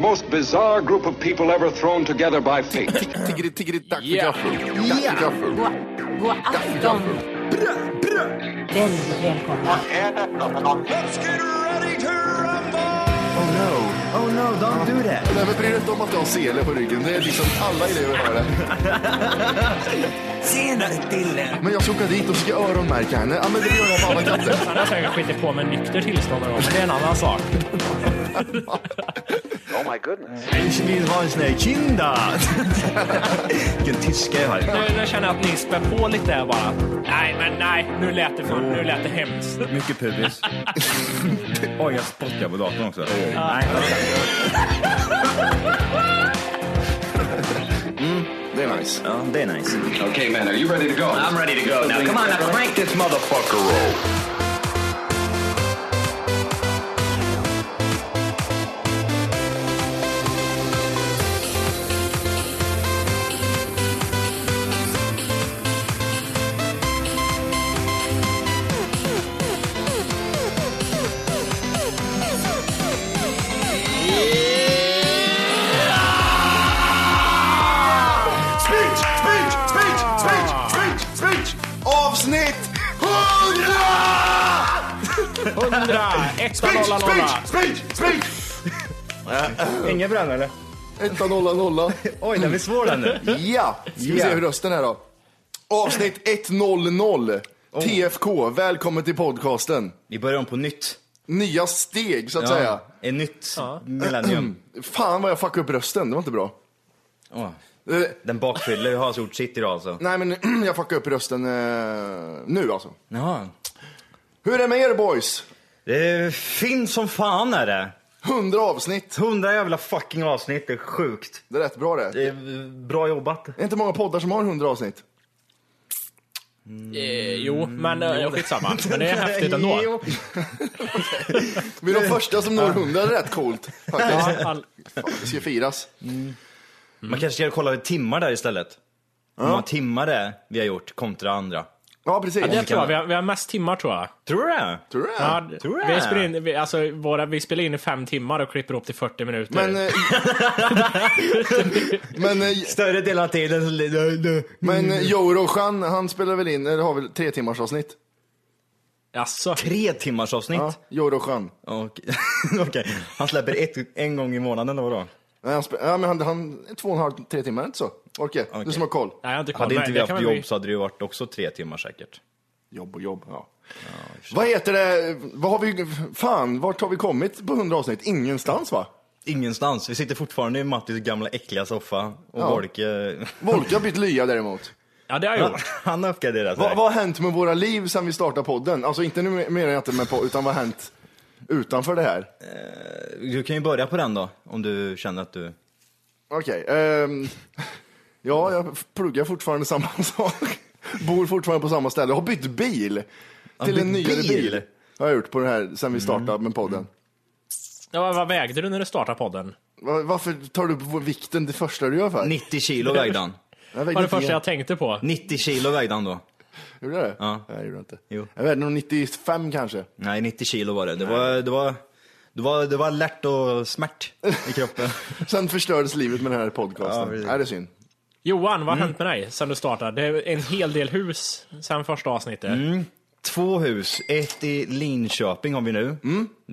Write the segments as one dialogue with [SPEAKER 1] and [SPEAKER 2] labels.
[SPEAKER 1] most bizarre group of people ever thrown together by fate.
[SPEAKER 2] Tiggeri, tiggeri, dack för
[SPEAKER 3] Ja.
[SPEAKER 2] gaffel. Dack för gaffel.
[SPEAKER 4] God, god afton. Väldigt välkomna.
[SPEAKER 5] Oh no, oh no, don't do that.
[SPEAKER 2] Nej, men bry dig inte om att jag har sele på ryggen. Det är liksom alla elever har det.
[SPEAKER 5] Tjena Dille!
[SPEAKER 2] Men jag ska åka dit och ska öronmärka henne. Ja, men det gör jag med alla katter.
[SPEAKER 3] Han har säkert skitit på med nykter tillstånd då, men det är en annan sak.
[SPEAKER 5] Ich will ha en sån här kinda. Vilken tyska jag har.
[SPEAKER 3] Nu, nu känner jag att ni spär på lite här bara. Nej, men nej, nu lät det, för, nu lät det hemskt.
[SPEAKER 6] Mycket pubis. Oj, jag spottar på datorn också.
[SPEAKER 2] Det är nice.
[SPEAKER 6] Ja, det är nice.
[SPEAKER 1] okay, man, are you ready to go? I'm ready to go. Now, come on, now crank this motherfucker roll.
[SPEAKER 2] Speech, speech, speech, speech, speech, speech! Avsnitt 100!
[SPEAKER 3] 100, etta, nolla, nolla.
[SPEAKER 2] Speech, speech, speech!
[SPEAKER 6] Inga bränn eller?
[SPEAKER 2] Etta, nolla, nolla.
[SPEAKER 6] Oj, den blir svår den nu.
[SPEAKER 2] Ja, ska vi
[SPEAKER 6] Ja.
[SPEAKER 2] se hur rösten är då. Avsnitt 100. TFK, välkommen till podcasten.
[SPEAKER 6] Vi börjar om på nytt.
[SPEAKER 2] Nya steg så att säga.
[SPEAKER 6] Ett nytt millennium.
[SPEAKER 2] Fan vad jag fuckade upp rösten, det var inte bra.
[SPEAKER 6] Åh,
[SPEAKER 2] Eh,
[SPEAKER 6] den bakfyller har gjort sitt idag alltså.
[SPEAKER 2] nej men jag fuckade upp rösten eh, nu alltså.
[SPEAKER 6] Jaha.
[SPEAKER 2] Hur är det med er boys?
[SPEAKER 6] Det är fint som fan är det.
[SPEAKER 2] 100 avsnitt,
[SPEAKER 6] Hundra jävla fucking avsnitt, det är sjukt.
[SPEAKER 2] det är rätt bra det.
[SPEAKER 6] Det är bra jobbat.
[SPEAKER 2] Det är inte många poddar som har 100 avsnitt.
[SPEAKER 3] Eh, jo, men eh, skitsamma. Men det är häftigt ändå.
[SPEAKER 6] Jo.
[SPEAKER 2] Vi är de första som når 100, det är rätt coolt faktiskt.
[SPEAKER 3] Ja, all-
[SPEAKER 2] Det ska firas.
[SPEAKER 3] Mm.
[SPEAKER 6] Man kanske ska kolla hur timmar där istället. Hur många timmar det är vi har gjort kontra andra.
[SPEAKER 2] Ja precis.
[SPEAKER 3] det tror jag. Vi har, vi har mest timmar tror jag.
[SPEAKER 6] Tror du det?
[SPEAKER 2] Tror du det?
[SPEAKER 3] Ja,
[SPEAKER 6] Tror jag.
[SPEAKER 3] vi, spelar in, vi, alltså, våra, vi spelar in i fem timmar och klipper upp till 40 minuter.
[SPEAKER 2] Men, eh, men, eh,
[SPEAKER 6] Större delen av tiden så...
[SPEAKER 2] men eh, Joe Roshan, han spelar väl in, eller har väl tre timmars avsnitt?
[SPEAKER 3] Alltså,
[SPEAKER 6] Tre timmars avsnitt.
[SPEAKER 2] Ja, Joe Roshan.
[SPEAKER 6] Och, okej. Han släpper ett, en gång i månaden då? då.
[SPEAKER 2] Nej, han, spe- ja, men han, han två och en halv, tre timmar, inte så? Orke, du
[SPEAKER 6] Okej.
[SPEAKER 2] som har koll.
[SPEAKER 3] nej, jag har inte koll.
[SPEAKER 6] Hade
[SPEAKER 3] men
[SPEAKER 6] inte vi
[SPEAKER 3] det kan
[SPEAKER 6] haft
[SPEAKER 3] väl
[SPEAKER 6] jobb
[SPEAKER 3] bli-
[SPEAKER 6] så hade det ju varit också tre timmar säkert.
[SPEAKER 2] Jobb och jobb, ja. vad heter det, vad har vi, fan, vart har vi kommit på 100 avsnitt? Ingenstans va?
[SPEAKER 6] Ingenstans. Vi sitter fortfarande i Mattis gamla äckliga soffa och
[SPEAKER 2] Ja.
[SPEAKER 6] Volke...
[SPEAKER 2] Volke har bytt lya däremot.
[SPEAKER 3] Ja, det har jag
[SPEAKER 6] Han-
[SPEAKER 3] gjort.
[SPEAKER 6] Han uppgraderar sig.
[SPEAKER 2] Vad, vad har hänt med våra liv sedan vi startade podden? Alltså inte nu menar jag inte med podden, utan vad har hänt utanför det här?
[SPEAKER 6] Du kan ju börja på den då, om du känner att du...
[SPEAKER 2] Okej, ehm, ja, jag pluggar fortfarande samma sak. Bor fortfarande på samma ställe, har bytt bil. Till en
[SPEAKER 6] bytt
[SPEAKER 2] nyare bil.
[SPEAKER 6] bil? Mm.
[SPEAKER 2] Har jag gjort på det här sedan vi startade med podden.
[SPEAKER 3] Ja, vad- vad vägde du när du startade podden?
[SPEAKER 2] Va- Varför tar du upp vikten det första du gör för?
[SPEAKER 6] 90 kilo vägde han.
[SPEAKER 2] Jag
[SPEAKER 3] Det
[SPEAKER 2] vägde
[SPEAKER 3] var det
[SPEAKER 2] inte
[SPEAKER 3] första
[SPEAKER 2] igen.
[SPEAKER 3] jag tänkte på.
[SPEAKER 6] 90 kilo vägde han då.
[SPEAKER 2] Gjorde jag det?
[SPEAKER 6] Ja.
[SPEAKER 2] Nej, jag gjorde inte.
[SPEAKER 6] Jo.
[SPEAKER 2] Jag vägde nog 95 kanske.
[SPEAKER 6] Nej, 90 kilo var det. Det var, det var, det var, det var lärt och smärt i kroppen.
[SPEAKER 2] Sen förstördes livet med den här
[SPEAKER 6] Ja,
[SPEAKER 2] podcasten.
[SPEAKER 6] precis.
[SPEAKER 2] Nej, det är synd.
[SPEAKER 3] Johan, vad har hänt med dig sen du startade? Det är en hel del hus sen första avsnittet.
[SPEAKER 6] Två hus, ett i Linköping har vi nu.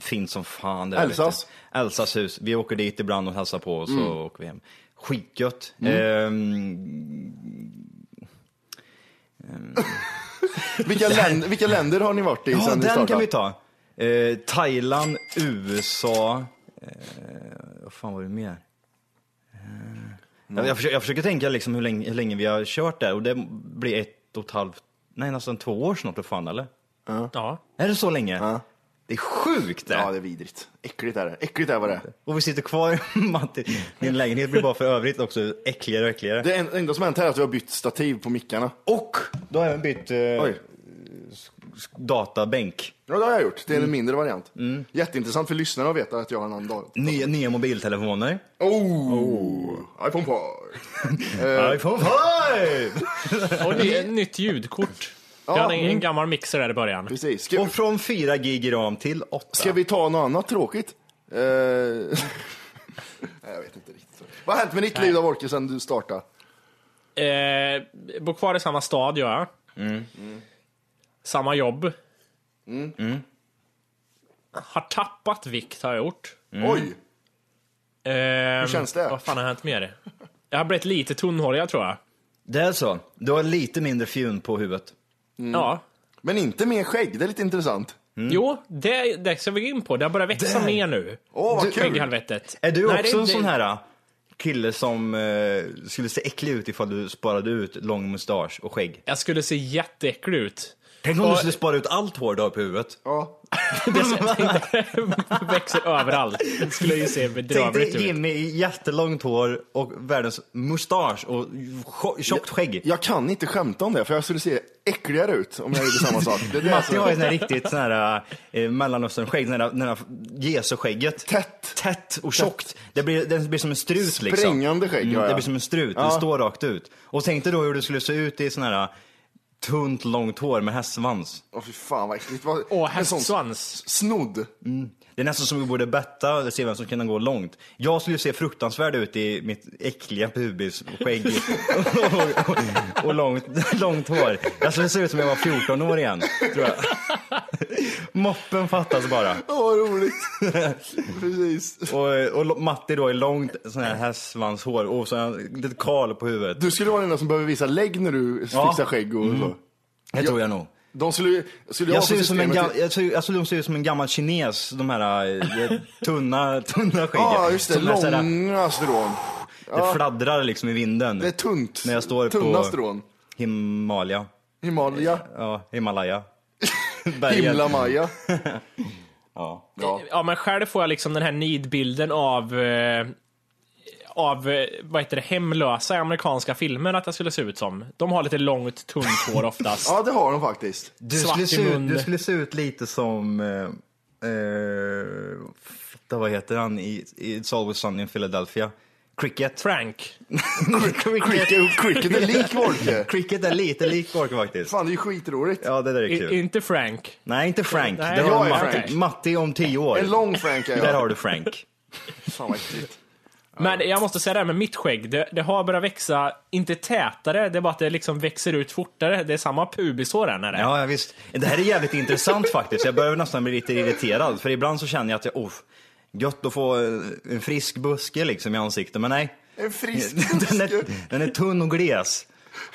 [SPEAKER 6] Fint som fan. Det är
[SPEAKER 2] Mm. Elsas. Mm.
[SPEAKER 6] lite. Elsas hus. Vi åker dit ibland och hälsar på och så åker vi hem. Skitgött. Ehm,
[SPEAKER 2] Vilka, länder, vilka länder har ni varit i
[SPEAKER 6] ja,
[SPEAKER 2] sen ni
[SPEAKER 6] den kan
[SPEAKER 2] startade?
[SPEAKER 6] vi ta. Eh, Thailand, USA, eh, vad fan var det mer? Eh,
[SPEAKER 2] Mm.
[SPEAKER 6] jag, jag, försöker, jag försöker tänka liksom hur, länge, hur länge vi har kört där och det blir ett och ett halvt, nej nästan två år snart, vad fan eller?
[SPEAKER 3] Ja.
[SPEAKER 6] Är det så länge?
[SPEAKER 2] Ja.
[SPEAKER 6] Det är sjukt det!
[SPEAKER 2] Ja, det är vidrigt. Äckligt är det. Äckligt är vad det är.
[SPEAKER 6] Och vi sitter kvar i Matti. Din lägenhet blir bara för övrigt också äckligare och äckligare.
[SPEAKER 2] Det en- enda som har hänt här är att vi har bytt stativ på mickarna.
[SPEAKER 6] Och då har jag även bytt eh,
[SPEAKER 2] Oj.
[SPEAKER 6] databänk.
[SPEAKER 2] Ja, det har jag gjort. Det är en mindre variant. Jätteintressant för lyssnarna att veta att jag har en annan dag.
[SPEAKER 6] Nya, nya mobiltelefoner.
[SPEAKER 2] Oh! iPhone 5. Eh.
[SPEAKER 6] iPhone 5!
[SPEAKER 3] Och det är ett nytt ljudkort. Jag hade en, en gammal mixer där i början.
[SPEAKER 2] Precis. Ska,
[SPEAKER 6] Och från 4 gig ram till 8.
[SPEAKER 2] ska vi ta något annat tråkigt? Eh, Vad har hänt med ditt liv då Wolke sen du startade?
[SPEAKER 3] Eh, bor kvar i samma stad gör jag. Samma jobb. Mm. Har tappat vikt har jag gjort.
[SPEAKER 2] Oj!
[SPEAKER 3] Eh,
[SPEAKER 2] känns det?
[SPEAKER 3] Vad fan har hänt med det? Jag har blivit lite tunnhårig tror jag.
[SPEAKER 6] Det är så. Du har lite mindre fjun på huvudet.
[SPEAKER 3] Ja.
[SPEAKER 2] Men inte mer skägg, det är lite intressant.
[SPEAKER 3] Jo, det, det ska vi gå in på. Det har börjat växa mer nu.
[SPEAKER 2] Åh, vad
[SPEAKER 3] Du-
[SPEAKER 2] kul.
[SPEAKER 3] Skägghelvetet.
[SPEAKER 6] Är du
[SPEAKER 3] Nej, det
[SPEAKER 6] också
[SPEAKER 3] är
[SPEAKER 6] en
[SPEAKER 3] inte-
[SPEAKER 6] sån här äh, kille som eh, skulle se äcklig ut ifall du sparade ut lång mustasch och skägg?
[SPEAKER 3] Jag skulle se jätteäcklig ut.
[SPEAKER 6] Tänk om du
[SPEAKER 3] Och-
[SPEAKER 6] skulle spara ut allt hår du har på huvudet.
[SPEAKER 2] Ja.
[SPEAKER 3] Växer överallt. Det skulle ju se
[SPEAKER 6] Tänk
[SPEAKER 3] bedrövligt
[SPEAKER 6] dig
[SPEAKER 3] ut.
[SPEAKER 6] Jimmy i jättelångt hår och världens mustasch och tjo- tjockt skägg.
[SPEAKER 2] Jag kan inte skämta om det, för jag skulle se äckligare ut om jag gjorde samma sak. Det är alltså- det
[SPEAKER 6] Matti
[SPEAKER 2] som
[SPEAKER 6] har ju
[SPEAKER 2] är
[SPEAKER 6] sån här riktigt sån här eh, mellanösternskägg, den här, den här Jesu-skägget.
[SPEAKER 2] Tätt.
[SPEAKER 6] Tätt och tjockt. Det blir, den blir som en strut liksom.
[SPEAKER 2] Sprängande skägg har
[SPEAKER 6] Det
[SPEAKER 2] jag.
[SPEAKER 6] blir som en strut,
[SPEAKER 2] Ja.
[SPEAKER 6] det står rakt ut. Och tänk dig då hur du skulle se ut i sån här tunt långt hår med hästsvans.
[SPEAKER 2] Åh fy fan vad äckligt. Vad-
[SPEAKER 3] Åh,
[SPEAKER 2] en sån
[SPEAKER 3] hästsvans.
[SPEAKER 2] Snodd.
[SPEAKER 6] Det är nästan som vi borde betta och se vem som kan gå långt. Jag skulle ju se fruktansvärd ut i mitt äckliga pubisskägg och, och, och långt, långt hår. Jag skulle se ut som jag var 14 år igen, tror jag. Moppen fattas bara.
[SPEAKER 2] Åh vad roligt. Precis.
[SPEAKER 6] Och, och Matti då är långt sån här hästsvanshår och så har han ett litet kal på huvudet.
[SPEAKER 2] Du skulle vara den enda som behöver visa lägg när du
[SPEAKER 6] Ja.
[SPEAKER 2] fixar skägg och så.
[SPEAKER 6] Det tror jag nog.
[SPEAKER 2] De skulle ju... Skulle ha
[SPEAKER 6] Jag ser ut som en,
[SPEAKER 2] systemet-
[SPEAKER 6] gam, jag ser, alltså, de ser ut som en gammal kines, de här eh, tunna, tunna skäggen.
[SPEAKER 2] Ja, just det.
[SPEAKER 6] Som är så här-
[SPEAKER 2] Långa strån.
[SPEAKER 6] det fladdrar liksom i vinden.
[SPEAKER 2] Det är tunt.
[SPEAKER 6] När jag står
[SPEAKER 2] Tunna
[SPEAKER 6] på-
[SPEAKER 2] strån.
[SPEAKER 6] Himalaya.
[SPEAKER 2] Himalaya.
[SPEAKER 6] Ja, Himalaya.
[SPEAKER 2] Himla Maja.
[SPEAKER 6] Ja.
[SPEAKER 2] Ja.
[SPEAKER 3] Ja, men själv får jag liksom den här nidbilden av eh, av eh, vad heter det, hemlösa i amerikanska filmer att jag skulle se ut som. De har lite långt, tunt hår oftast.
[SPEAKER 2] ja, det har de faktiskt.
[SPEAKER 6] Du,
[SPEAKER 3] Svart
[SPEAKER 6] skulle
[SPEAKER 3] i
[SPEAKER 6] se ut,
[SPEAKER 3] mun.
[SPEAKER 6] du skulle se ut lite som... Eh, eh, fatta, vad heter han i, i It's Always Sunny in Philadelphia? Cricket.
[SPEAKER 3] Frank.
[SPEAKER 2] Cricket, cricket är lik Wolke.
[SPEAKER 6] Cricket är lite lik Gork faktiskt.
[SPEAKER 2] Fan, det är ju skitroligt.
[SPEAKER 6] Ja, det där är kul.
[SPEAKER 3] I, inte Frank.
[SPEAKER 6] Nej, inte Frank.
[SPEAKER 3] Nej,
[SPEAKER 6] där
[SPEAKER 2] jag
[SPEAKER 6] har du
[SPEAKER 2] är
[SPEAKER 6] Matti.
[SPEAKER 2] Frank.
[SPEAKER 6] Matti om tio år.
[SPEAKER 2] En lång Frank är jag.
[SPEAKER 6] Där har du Frank.
[SPEAKER 2] Fan vad äckligt.
[SPEAKER 3] Men jag måste säga det här med mitt skägg. Det, det har börjat växa, inte tätare, det är bara att det liksom växer ut fortare. Det är samma pubishår än är det.
[SPEAKER 6] Ja, ja, visst. Det här är jävligt intressant faktiskt. Jag börjar nästan bli lite irriterad. För ibland så känner jag att jag, oh, gött att få eh, en frisk buske liksom i ansiktet. Men nej,
[SPEAKER 2] En frisk
[SPEAKER 6] den är, den är tunn och gles.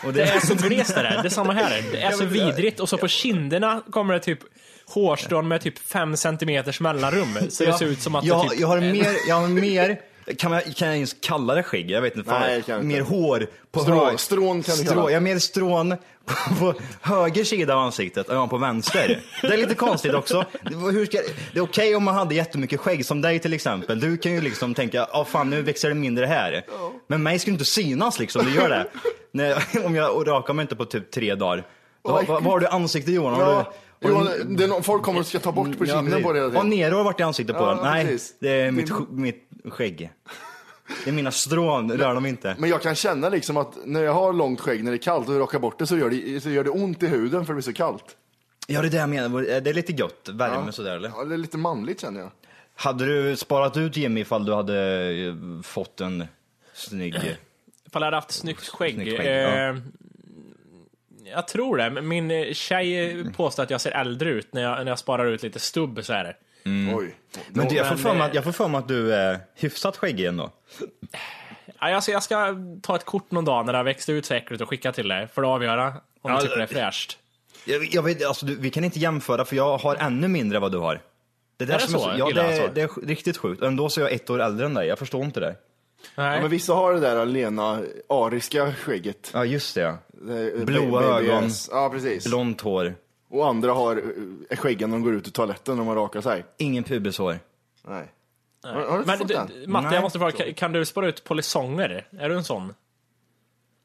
[SPEAKER 6] Och
[SPEAKER 3] Det är så glest det där. Det är samma här. Det är så vidrigt. Och så på kinderna kommer det typ hårstrån med typ 5 centimeters mellanrum. Så det ser ut som att
[SPEAKER 6] jag,
[SPEAKER 3] det typ...
[SPEAKER 6] jag har mer, jag har mer kan, man, kan jag ens kalla det skägg? Jag vet inte. Fan,
[SPEAKER 2] Nej, det kan jag inte.
[SPEAKER 6] mer hår på
[SPEAKER 2] Strå-
[SPEAKER 6] höger...
[SPEAKER 2] strån kan du
[SPEAKER 6] strå,
[SPEAKER 2] kalla det.
[SPEAKER 6] Jag har mer strån på, på höger sida av ansiktet än på vänster. Det är lite konstigt också. Det, var- hur ska, det är okej om man hade jättemycket skägg, som dig till exempel. Du kan ju liksom tänka, ja fan nu växer det mindre här. Men mig skulle inte synas liksom, det gör det. När, om jag och rakar mig inte på typ tre dagar. Då,
[SPEAKER 2] Oj.
[SPEAKER 6] vad vad har du i ansiktet Johan? Har
[SPEAKER 2] Ja,
[SPEAKER 6] du, har
[SPEAKER 2] Johan,
[SPEAKER 6] du,
[SPEAKER 2] det är någon, folk kommer och ska ta bort på kinden på det hela
[SPEAKER 6] Ja,
[SPEAKER 2] tiden.
[SPEAKER 6] Nero har varit i ansiktet på
[SPEAKER 2] Ja,
[SPEAKER 6] den. Nej,
[SPEAKER 2] precis.
[SPEAKER 6] det är mitt,
[SPEAKER 2] Din-
[SPEAKER 6] sk- mitt skägg. Det är mina strån, rör dem inte.
[SPEAKER 2] Men jag kan känna liksom att när jag har långt skägg när det är kallt och rakar bort det så gör det, så gör det ont i huden för det blir så kallt.
[SPEAKER 6] Ja, det är det jag menar. Det är lite gött, värme sådär eller?
[SPEAKER 2] Ja, det är lite manligt känner jag.
[SPEAKER 6] Hade du sparat ut Jimmy ifall du hade eh, fått en snygg...
[SPEAKER 3] Ifall jag hade haft snyggt skägg.
[SPEAKER 6] Snyggt skägg,
[SPEAKER 3] eh,
[SPEAKER 6] ja.
[SPEAKER 3] Jag tror det. men Min eh, tjej påstår att jag ser äldre ut när jag, när jag sparar ut lite stubb så här.
[SPEAKER 6] Mm.
[SPEAKER 2] Oj.
[SPEAKER 6] Men du, jag får
[SPEAKER 3] men,
[SPEAKER 6] för mig
[SPEAKER 3] eh,
[SPEAKER 6] att, jag får för mig att du är hyfsat skäggig ändå.
[SPEAKER 3] Ja, jag, ska, jag ska ta ett kort någon dag när det har växt ut så äckligt och skicka till dig för att avgöra om
[SPEAKER 6] Ja,
[SPEAKER 3] du tycker
[SPEAKER 6] det-
[SPEAKER 3] det är fräscht.
[SPEAKER 6] Jag, jag vet, alltså, du, vi kan inte jämföra för jag har ännu mindre än vad du har. Det där
[SPEAKER 3] Är det
[SPEAKER 6] som
[SPEAKER 3] så?
[SPEAKER 6] ja,
[SPEAKER 3] Illa
[SPEAKER 6] det,
[SPEAKER 3] alltså?
[SPEAKER 6] det är sj- riktigt sjukt. Ändå så är jag ett år äldre än dig, jag förstår inte det.
[SPEAKER 3] Nej.
[SPEAKER 2] Ja, men vissa har det där lena ariska skägget.
[SPEAKER 6] Ja, just det.
[SPEAKER 2] Det-
[SPEAKER 6] Blåa
[SPEAKER 2] baby
[SPEAKER 6] ögon.
[SPEAKER 2] ass. Ja, precis.
[SPEAKER 6] Blont hår,
[SPEAKER 2] Och andra har eh, skäggen när de går ut ur toaletten när man rakar sig.
[SPEAKER 6] ingen pubishår.
[SPEAKER 2] Nej. Har, har du
[SPEAKER 3] Men
[SPEAKER 2] fått
[SPEAKER 3] du,
[SPEAKER 2] den?
[SPEAKER 3] Matte,
[SPEAKER 6] Nej.
[SPEAKER 3] jag måste fråga, kan, kan du spara ut polisonger? Är du en sån?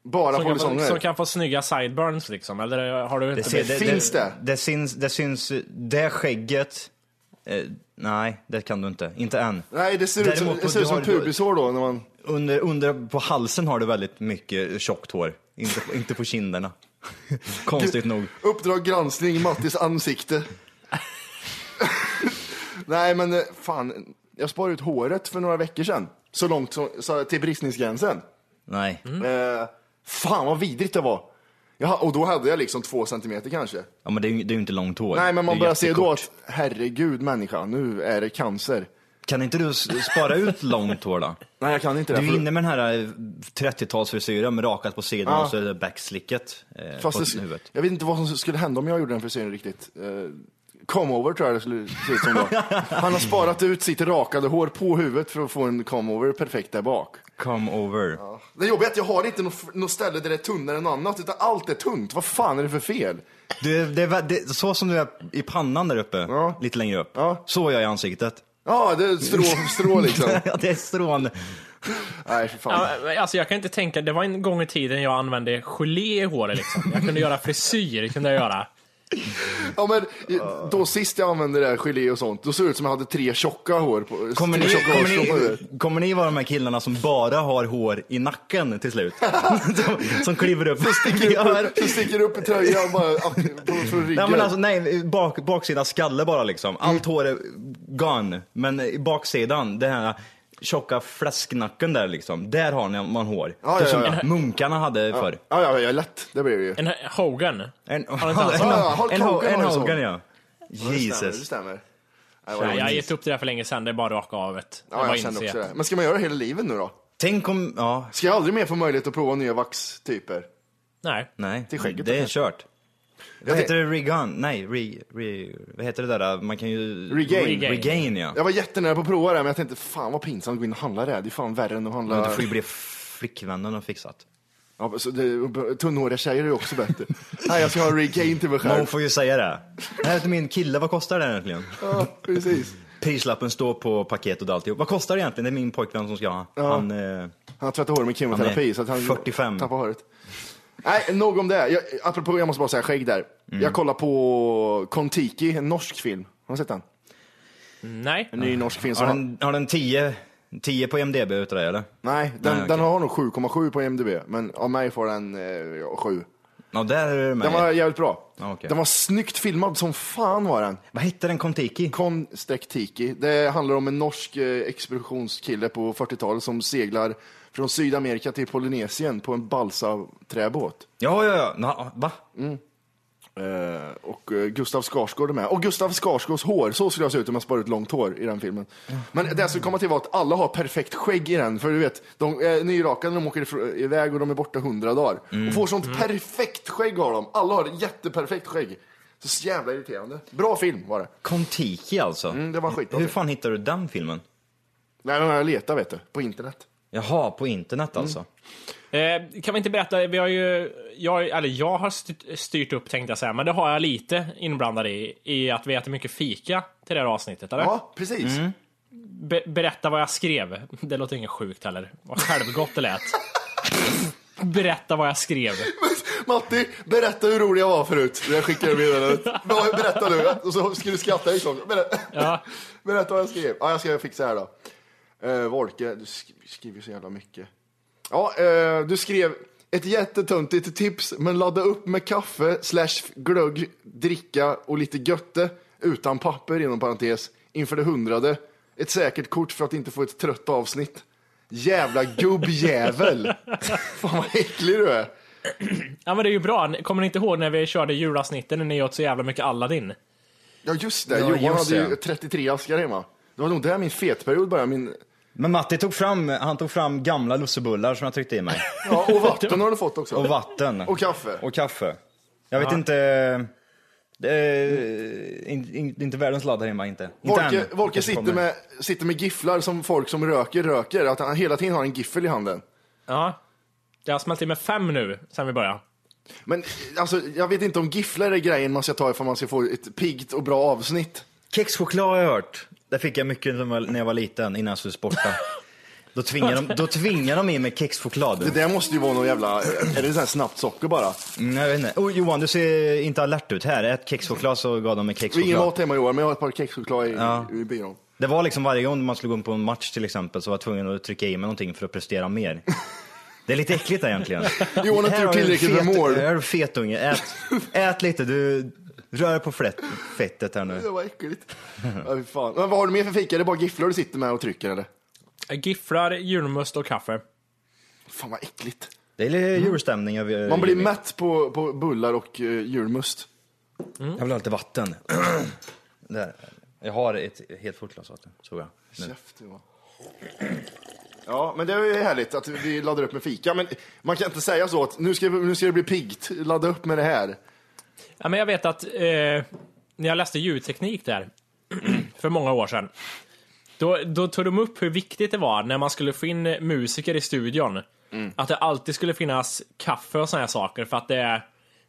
[SPEAKER 2] Bara
[SPEAKER 3] Som kan, som
[SPEAKER 2] polisonger?
[SPEAKER 3] kan få snygga sideburns liksom? Eller har du inte
[SPEAKER 6] ser-
[SPEAKER 3] blivit-
[SPEAKER 2] finns det?
[SPEAKER 6] Det syns, det syns, det skägget, eh, nej det kan du inte, inte än.
[SPEAKER 2] Nej, det ser ut som,
[SPEAKER 6] Däremot,
[SPEAKER 2] det ser ut
[SPEAKER 6] du
[SPEAKER 2] som
[SPEAKER 6] har-
[SPEAKER 2] pubishår då när man...
[SPEAKER 6] Under, under, på halsen har du väldigt mycket tjockt hår, inte, inte på kinderna. Konstigt nog.
[SPEAKER 2] Uppdrag granskning, Mattis ansikte. Nej men eh, fan, jag sparade ut håret för några veckor sedan. Så långt så, så, till bristningsgränsen.
[SPEAKER 6] Nej.
[SPEAKER 3] Mm.
[SPEAKER 2] Eh, fan vad vidrigt det var. Jaha, och då hade jag liksom två centimeter kanske.
[SPEAKER 6] Ja, men det är ju, det är ju inte långt hår.
[SPEAKER 2] Nej, men
[SPEAKER 6] Det
[SPEAKER 2] man
[SPEAKER 6] är
[SPEAKER 2] börjar se då
[SPEAKER 6] jättekort.
[SPEAKER 2] att herregud människa, nu är det cancer.
[SPEAKER 6] Kan inte du s- spara ut långt hår då?
[SPEAKER 2] Nej, jag kan inte det.
[SPEAKER 6] Du är
[SPEAKER 2] för-
[SPEAKER 6] inne med den här eh, 30-talsfrisyren med rakat på sidan
[SPEAKER 2] Ja.
[SPEAKER 6] och så är det backslicket eh,
[SPEAKER 2] Fast
[SPEAKER 6] på
[SPEAKER 2] det, sk-
[SPEAKER 6] huvudet.
[SPEAKER 2] jag vet inte vad som skulle hända om jag gjorde den frisyren riktigt. Uh, comeover tror jag det skulle se ut som då. Han har sparat ut sitt rakade hår på huvudet för att få en comeover perfekt där bak.
[SPEAKER 6] Come over.
[SPEAKER 2] Det jobbiga är att jag har inte något, något ställe där det är tunnare än annat, utan allt är tunt. Vad fan är det för fel?
[SPEAKER 6] Du, det, är vä- det, så som du är i pannan där uppe,
[SPEAKER 2] Ja.
[SPEAKER 6] lite längre upp,
[SPEAKER 2] Ja.
[SPEAKER 6] så är jag i ansiktet.
[SPEAKER 2] Ja, det är strå, strå liksom.
[SPEAKER 6] Ja, det är strån.
[SPEAKER 2] Nej, för fan.
[SPEAKER 3] Ja, men alltså jag kan inte tänka, det var en gång i tiden jag använde gelé i håret liksom. Jag kunde göra frisyr, kunde jag göra.
[SPEAKER 2] Ja, men, då sist jag använde det här gelé och sånt, då såg det ut som jag hade tre tjocka hår på
[SPEAKER 6] Kommer
[SPEAKER 2] tre
[SPEAKER 6] ni,
[SPEAKER 2] tjocka
[SPEAKER 6] kommer,
[SPEAKER 2] hårstrån på huvudet.
[SPEAKER 6] ni, kommer ni vara de här killarna som bara har hår i nacken till slut? som, som kliver upp. Gör-
[SPEAKER 2] Så sticker det upp i tröjan bara ah, på, från ryggen.
[SPEAKER 6] Nej, men alltså, nej, bak, baksida skalle bara liksom. Allt hår är gone. Men i baksidan, den här tjocka fläsknacken där liksom. Där har ni- man hår.
[SPEAKER 2] Ja,
[SPEAKER 6] Typ
[SPEAKER 2] ja,
[SPEAKER 6] som
[SPEAKER 2] ja.
[SPEAKER 6] munkarna hade förr.
[SPEAKER 2] Ja, ja, ja, lätt. Det blir det ju.
[SPEAKER 3] En Hogan.
[SPEAKER 6] En, en, en,
[SPEAKER 3] inte alls?
[SPEAKER 2] Ja, Hulk
[SPEAKER 6] en,
[SPEAKER 2] Hogan
[SPEAKER 6] en
[SPEAKER 2] har ju sån.
[SPEAKER 6] Hogan ja.
[SPEAKER 2] Det stämmer. Det
[SPEAKER 6] Jesus.
[SPEAKER 2] stämmer. Nej, vad
[SPEAKER 3] Nej, jag har
[SPEAKER 2] roligt.
[SPEAKER 3] gett upp det där för länge sedan, det är bara raka avet. det
[SPEAKER 2] Ja,
[SPEAKER 3] var
[SPEAKER 2] jag känner också
[SPEAKER 3] inse.
[SPEAKER 2] det. Men ska man göra det hela livet nu då?
[SPEAKER 6] Tänk om, ja,
[SPEAKER 2] Ska jag aldrig mer få möjlighet att prova nya vaxtyper?
[SPEAKER 3] Nej.
[SPEAKER 6] nej.
[SPEAKER 2] Till skägget
[SPEAKER 6] det är
[SPEAKER 2] kanske.
[SPEAKER 6] kört. Vad
[SPEAKER 2] det-
[SPEAKER 6] heter det? Regun? Nej, re, re, vad heter det där? äh, Man kan ju...
[SPEAKER 2] Regain.
[SPEAKER 6] Regain, Regain ja.
[SPEAKER 2] Jag var jättenära på att prova det, men jag tänkte fan vad pinsamt att gå in och handla det. här. Det är fan värre än att
[SPEAKER 6] Men Du
[SPEAKER 2] handla...
[SPEAKER 6] får ju bli flickvännen och fixat.
[SPEAKER 2] Ja, så det, tunnhåriga tjejer är ju också bättre. Nej, jag ska ha en regain till mig
[SPEAKER 6] Man
[SPEAKER 2] själv.
[SPEAKER 6] får ju säga det. Det här är till min kille, vad kostar det egentligen?
[SPEAKER 2] Ja, precis.
[SPEAKER 6] Prislappen står på paketet och alltihop. Vad kostar det egentligen? Det är min pojkvän som ska ha. Han, eh,
[SPEAKER 2] Han har tvättat håret med kemoterapi
[SPEAKER 6] Han är
[SPEAKER 2] så att han
[SPEAKER 6] 45.
[SPEAKER 2] tappar håret. Nej, nog om det. Jag, apropå, jag måste bara säga skägg där.
[SPEAKER 6] Mm.
[SPEAKER 2] Jag kollar på Kontiki, en norsk film. Har du sett den?
[SPEAKER 3] Nej.
[SPEAKER 2] En ny norsk film. Som
[SPEAKER 6] har,
[SPEAKER 2] har-
[SPEAKER 6] den, har den 10, 10 på MDB utav dig eller?
[SPEAKER 2] Nej, den,
[SPEAKER 6] Nej, okej.
[SPEAKER 2] den har nog 7,7 på IMDB, men av mig får den eh, 7.
[SPEAKER 6] Ja, där är du med.
[SPEAKER 2] Den var jävligt bra.
[SPEAKER 6] Ja, okej.
[SPEAKER 2] Den var snyggt filmad som fan var den.
[SPEAKER 6] Vad hette den? Kontiki?
[SPEAKER 2] Kon streck Tiki. Det handlar om en norsk eh, expeditionskille på 40-talet som seglar från Sydamerika till Polynesien på en balsaträbåt.
[SPEAKER 6] Ja, ja, ja. Na, va?
[SPEAKER 2] Eh, och eh, Gustav Skarsgård är med. Och Gustav Skarsgårds hår, så skulle jag se ut om jag sparade ut långt hår i den filmen. Men det jag skulle komma till var att alla har perfekt skägg i den, för du vet, de är nyrakade när de åker ifr- iväg och de är borta hundra dagar. Och får sånt perfekt skägg har de. Alla har jätteperfekt skägg. Så jävla irriterande. Bra film var det.
[SPEAKER 6] Kontiki alltså?
[SPEAKER 2] Mm, det var skit.
[SPEAKER 6] Hur fan hittar du den filmen?
[SPEAKER 2] Nej, men jag letar vet du, på internet.
[SPEAKER 6] Jaha, på internet alltså.
[SPEAKER 3] Eh, kan vi inte berätta, vi har ju, jag, eller jag har styrt, styrt upp tänkte jag säga, men det har jag lite inblandad i, i att vi äter mycket fika till det här avsnittet. Eller?
[SPEAKER 2] Ja, precis.
[SPEAKER 3] Be- berätta vad jag skrev. Det låter inget sjukt heller. Vad självgott det lät. berätta vad jag skrev.
[SPEAKER 2] Matti, berätta hur rolig jag var förut. Jag skickade meddelandet. Vad- Berätta nu. Och så ska du skratta liksom. Berätta,
[SPEAKER 3] Ja.
[SPEAKER 2] berätta vad jag skrev. Ja, jag ska fixa här då. Uh, Volke, du sk- skriver så jävla mycket. Ja, eh, du skrev ett jättetöntigt tips, men ladda upp med kaffe slash glögg, dricka och lite götte utan papper inom parentes inför det hundrade. Ett säkert kort för att inte få ett trött avsnitt. Jävla gubbjävel! Fan vad äcklig du är.
[SPEAKER 3] Ja men det är ju bra. Kommer ni inte ihåg när vi körde julavsnitten när ni åt så jävla mycket Aladdin?
[SPEAKER 2] Ja just det,
[SPEAKER 6] Ja,
[SPEAKER 2] Johan
[SPEAKER 6] just
[SPEAKER 2] hade ju
[SPEAKER 6] det.
[SPEAKER 2] 33 askar hemma. Det var nog där min fetperiod började. Min...
[SPEAKER 6] Men Matti tog fram, han tog fram gamla lussebullar som jag tryckte i mig.
[SPEAKER 2] Ja, och vatten har du fått också.
[SPEAKER 6] Och vatten.
[SPEAKER 2] Och kaffe.
[SPEAKER 6] Och kaffe. Jag vet inte... Det är in, in, inte världens ladd här hemma, inte. Inte
[SPEAKER 2] Volke,
[SPEAKER 6] än.
[SPEAKER 2] Volke
[SPEAKER 6] Kanske
[SPEAKER 2] sitter,
[SPEAKER 6] kommer.
[SPEAKER 2] med, sitter med gifflar som folk som röker röker. Att han hela tiden har en giffel i handen.
[SPEAKER 3] Ja. Det har smält i med fem nu sen vi började.
[SPEAKER 2] Men alltså, jag vet inte om gifflar är grejen man ska ta ifall man ska få ett piggt och bra avsnitt.
[SPEAKER 6] Kexchoklad har jag hört. Det fick jag mycket när jag var- när jag var liten, innan jag skulle sporta. Då tvingar de, då tvingar de i mig
[SPEAKER 2] Det
[SPEAKER 6] kexchoklad.
[SPEAKER 2] där måste ju vara någon jävla, är det sån här snabbt socker bara?
[SPEAKER 6] Mm, jag vet inte. Oh, Johan, du ser inte alert ut här. Ät kexchoklad så gav de mig
[SPEAKER 2] Vi har ingen
[SPEAKER 6] kexchoklad.
[SPEAKER 2] mat hemma i år, men jag har ett par kexchoklad i,
[SPEAKER 6] Ja.
[SPEAKER 2] i byrån.
[SPEAKER 6] Det var liksom varje gång man skulle gå in på en match till exempel så var jag tvungen att trycka i mig någonting för att prestera mer. Det är lite äckligt där egentligen.
[SPEAKER 2] Johan har inte
[SPEAKER 6] Här
[SPEAKER 2] gjort
[SPEAKER 6] har du en
[SPEAKER 2] tillräckligt med
[SPEAKER 6] fet-
[SPEAKER 2] mål.
[SPEAKER 6] Här har du fetunge. Ät, ät lite, du rör på flätt, fettet här nu.
[SPEAKER 2] Det var äckligt. Ja, fy fan. Men vad har du mer för fika? Är det bara gifflar du sitter med och trycker eller?
[SPEAKER 3] Gifflar, julmust och kaffe.
[SPEAKER 2] Fan vad äckligt.
[SPEAKER 6] Det är lite julstämning. över-
[SPEAKER 2] Man blir mätt på, på bullar och eh, julmust.
[SPEAKER 6] Jag vill ha lite vatten. Där. Jag har ett helt fullt glas vatten, tror jag. Nu.
[SPEAKER 2] Käft, ja. Ja, men det är ju härligt att vi laddar upp med fika. Men man kan inte säga så att nu ska, nu ska det bli piggt, ladda upp med det här.
[SPEAKER 3] Ja, men jag vet att eh, när jag läste ljudteknik där för många år sedan, då, då tog de upp hur viktigt det var när man skulle få in musiker i studion, att det alltid skulle finnas kaffe och såna här saker för att det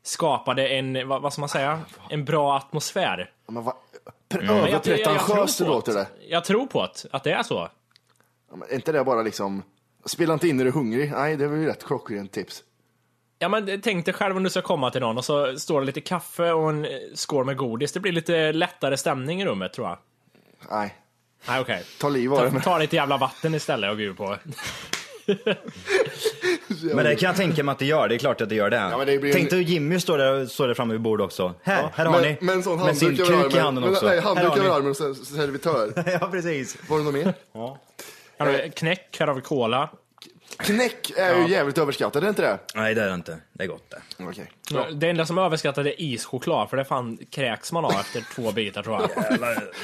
[SPEAKER 3] skapade en, vad, vad ska man säga, en bra atmosfär.
[SPEAKER 2] Ja, Men vad pre-
[SPEAKER 3] Men jag- jag- jag
[SPEAKER 2] överpretentiöst det
[SPEAKER 3] tror på
[SPEAKER 2] låter det.
[SPEAKER 3] Jag tror på att, att det är så.
[SPEAKER 2] Ja, men är inte det bara liksom, spela inte in när du är hungrig? Nej, det är väl rätt klockrent tips.
[SPEAKER 3] Ja, men tänk dig själv om du ska komma till någon och så står det lite kaffe och en eh, skål med godis. Det blir lite lättare stämning i rummet tror jag.
[SPEAKER 2] Nej,
[SPEAKER 3] Nej, okej.
[SPEAKER 2] ta liv av det.
[SPEAKER 3] Ta,
[SPEAKER 2] men-
[SPEAKER 3] ta lite jävla vatten istället och bjud på.
[SPEAKER 6] Men det kan jag tänka mig att det gör. Det är klart att det gör det.
[SPEAKER 2] men det blir-
[SPEAKER 6] Tänk dig Jimmy står där, står där framme vid bordet också. Här, här har
[SPEAKER 2] Men,
[SPEAKER 6] ni.
[SPEAKER 2] men sån
[SPEAKER 6] med sin
[SPEAKER 2] handduk över
[SPEAKER 6] kuk i
[SPEAKER 2] armen.
[SPEAKER 6] handen
[SPEAKER 2] Men,
[SPEAKER 6] också.
[SPEAKER 2] nej,
[SPEAKER 6] Här
[SPEAKER 2] handduk
[SPEAKER 6] har
[SPEAKER 2] över
[SPEAKER 6] ni.
[SPEAKER 2] armen och sen- servitör.
[SPEAKER 6] Ja, precis.
[SPEAKER 2] Var det något mer?
[SPEAKER 3] Här har vi knäck, här har vi cola.
[SPEAKER 2] Knäck är ju jävligt överskattat, är det inte det?
[SPEAKER 6] Nej, det är det inte. Det är gott det.
[SPEAKER 2] Okej.
[SPEAKER 3] Det enda som är överskattat är ischoklad, för det fan kräks man av efter två bitar tror jag.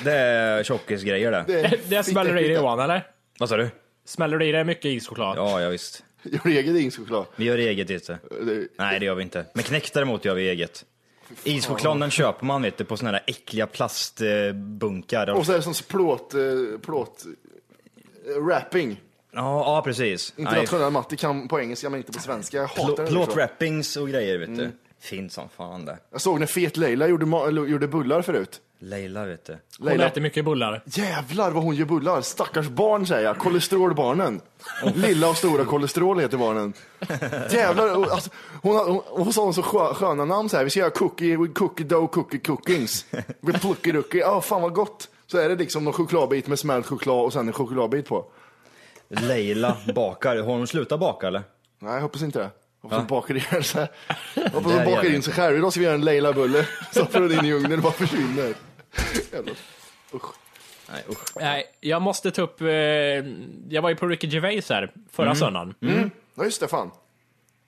[SPEAKER 6] Det är tjockisgrejer det.
[SPEAKER 3] Det- Det smäller du i dig Johan, eller?
[SPEAKER 6] Vad sa du?
[SPEAKER 3] Smäller du i dig mycket ischoklad?
[SPEAKER 6] Ja, ja visst.
[SPEAKER 2] Gör egen ischoklad.
[SPEAKER 6] Vi gör eget inte. Nej, det gör vi inte. Men knäck däremot gör vi eget. Ischokladen den köper man vet du, på såna där äckliga plastbunkar.
[SPEAKER 2] Och så är det som plåt, eh, plåt eh, rapping.
[SPEAKER 6] Ja, ja, precis. Nej,
[SPEAKER 2] Internationell matte kan på engelska men inte på svenska. Jag hatar
[SPEAKER 6] Plå-
[SPEAKER 2] det. liksom. Mm.
[SPEAKER 6] Plåtwrappings och grejer vet du. Fint som fan det.
[SPEAKER 2] Jag såg när Fet Leila gjorde, ma- eller gjorde bullar förut.
[SPEAKER 6] Leila vet du.
[SPEAKER 3] Hon
[SPEAKER 2] Leila.
[SPEAKER 3] äter mycket bullar.
[SPEAKER 2] Jävlar vad hon gör bullar. Stackars barn säger jag. Kolesterolbarnen. Lilla och stora kolesterol heter barnen. Jävlar. och, Alltså, hon, har- hon, hon sa hon så skö- sköna namn så här. Vi ska göra cookie, cookie dough, cookie cookings. Vi plucky ducky. Ja, fan vad gott. Så är det liksom någon chokladbit med smält choklad och sen en chokladbit på.
[SPEAKER 6] Leila bakar. Har hon slutat baka eller?
[SPEAKER 2] Nej, jag hoppas inte det. Jag Hoppas hon bakar ihjäl sig. Jag Hoppas
[SPEAKER 6] Där
[SPEAKER 2] hon
[SPEAKER 6] gör
[SPEAKER 2] bakar
[SPEAKER 6] det
[SPEAKER 2] in
[SPEAKER 6] inte.
[SPEAKER 2] sig själv. Idag ska vi göra en Leila-bulle. Så får hon in i ugnen och bara försvinner. Jävlar.
[SPEAKER 6] Nej usch.
[SPEAKER 3] Nej, jag måste ta upp... Eh, jag var ju på Ricky Gervais här förra söndagen.
[SPEAKER 2] Ja, just det. Fan.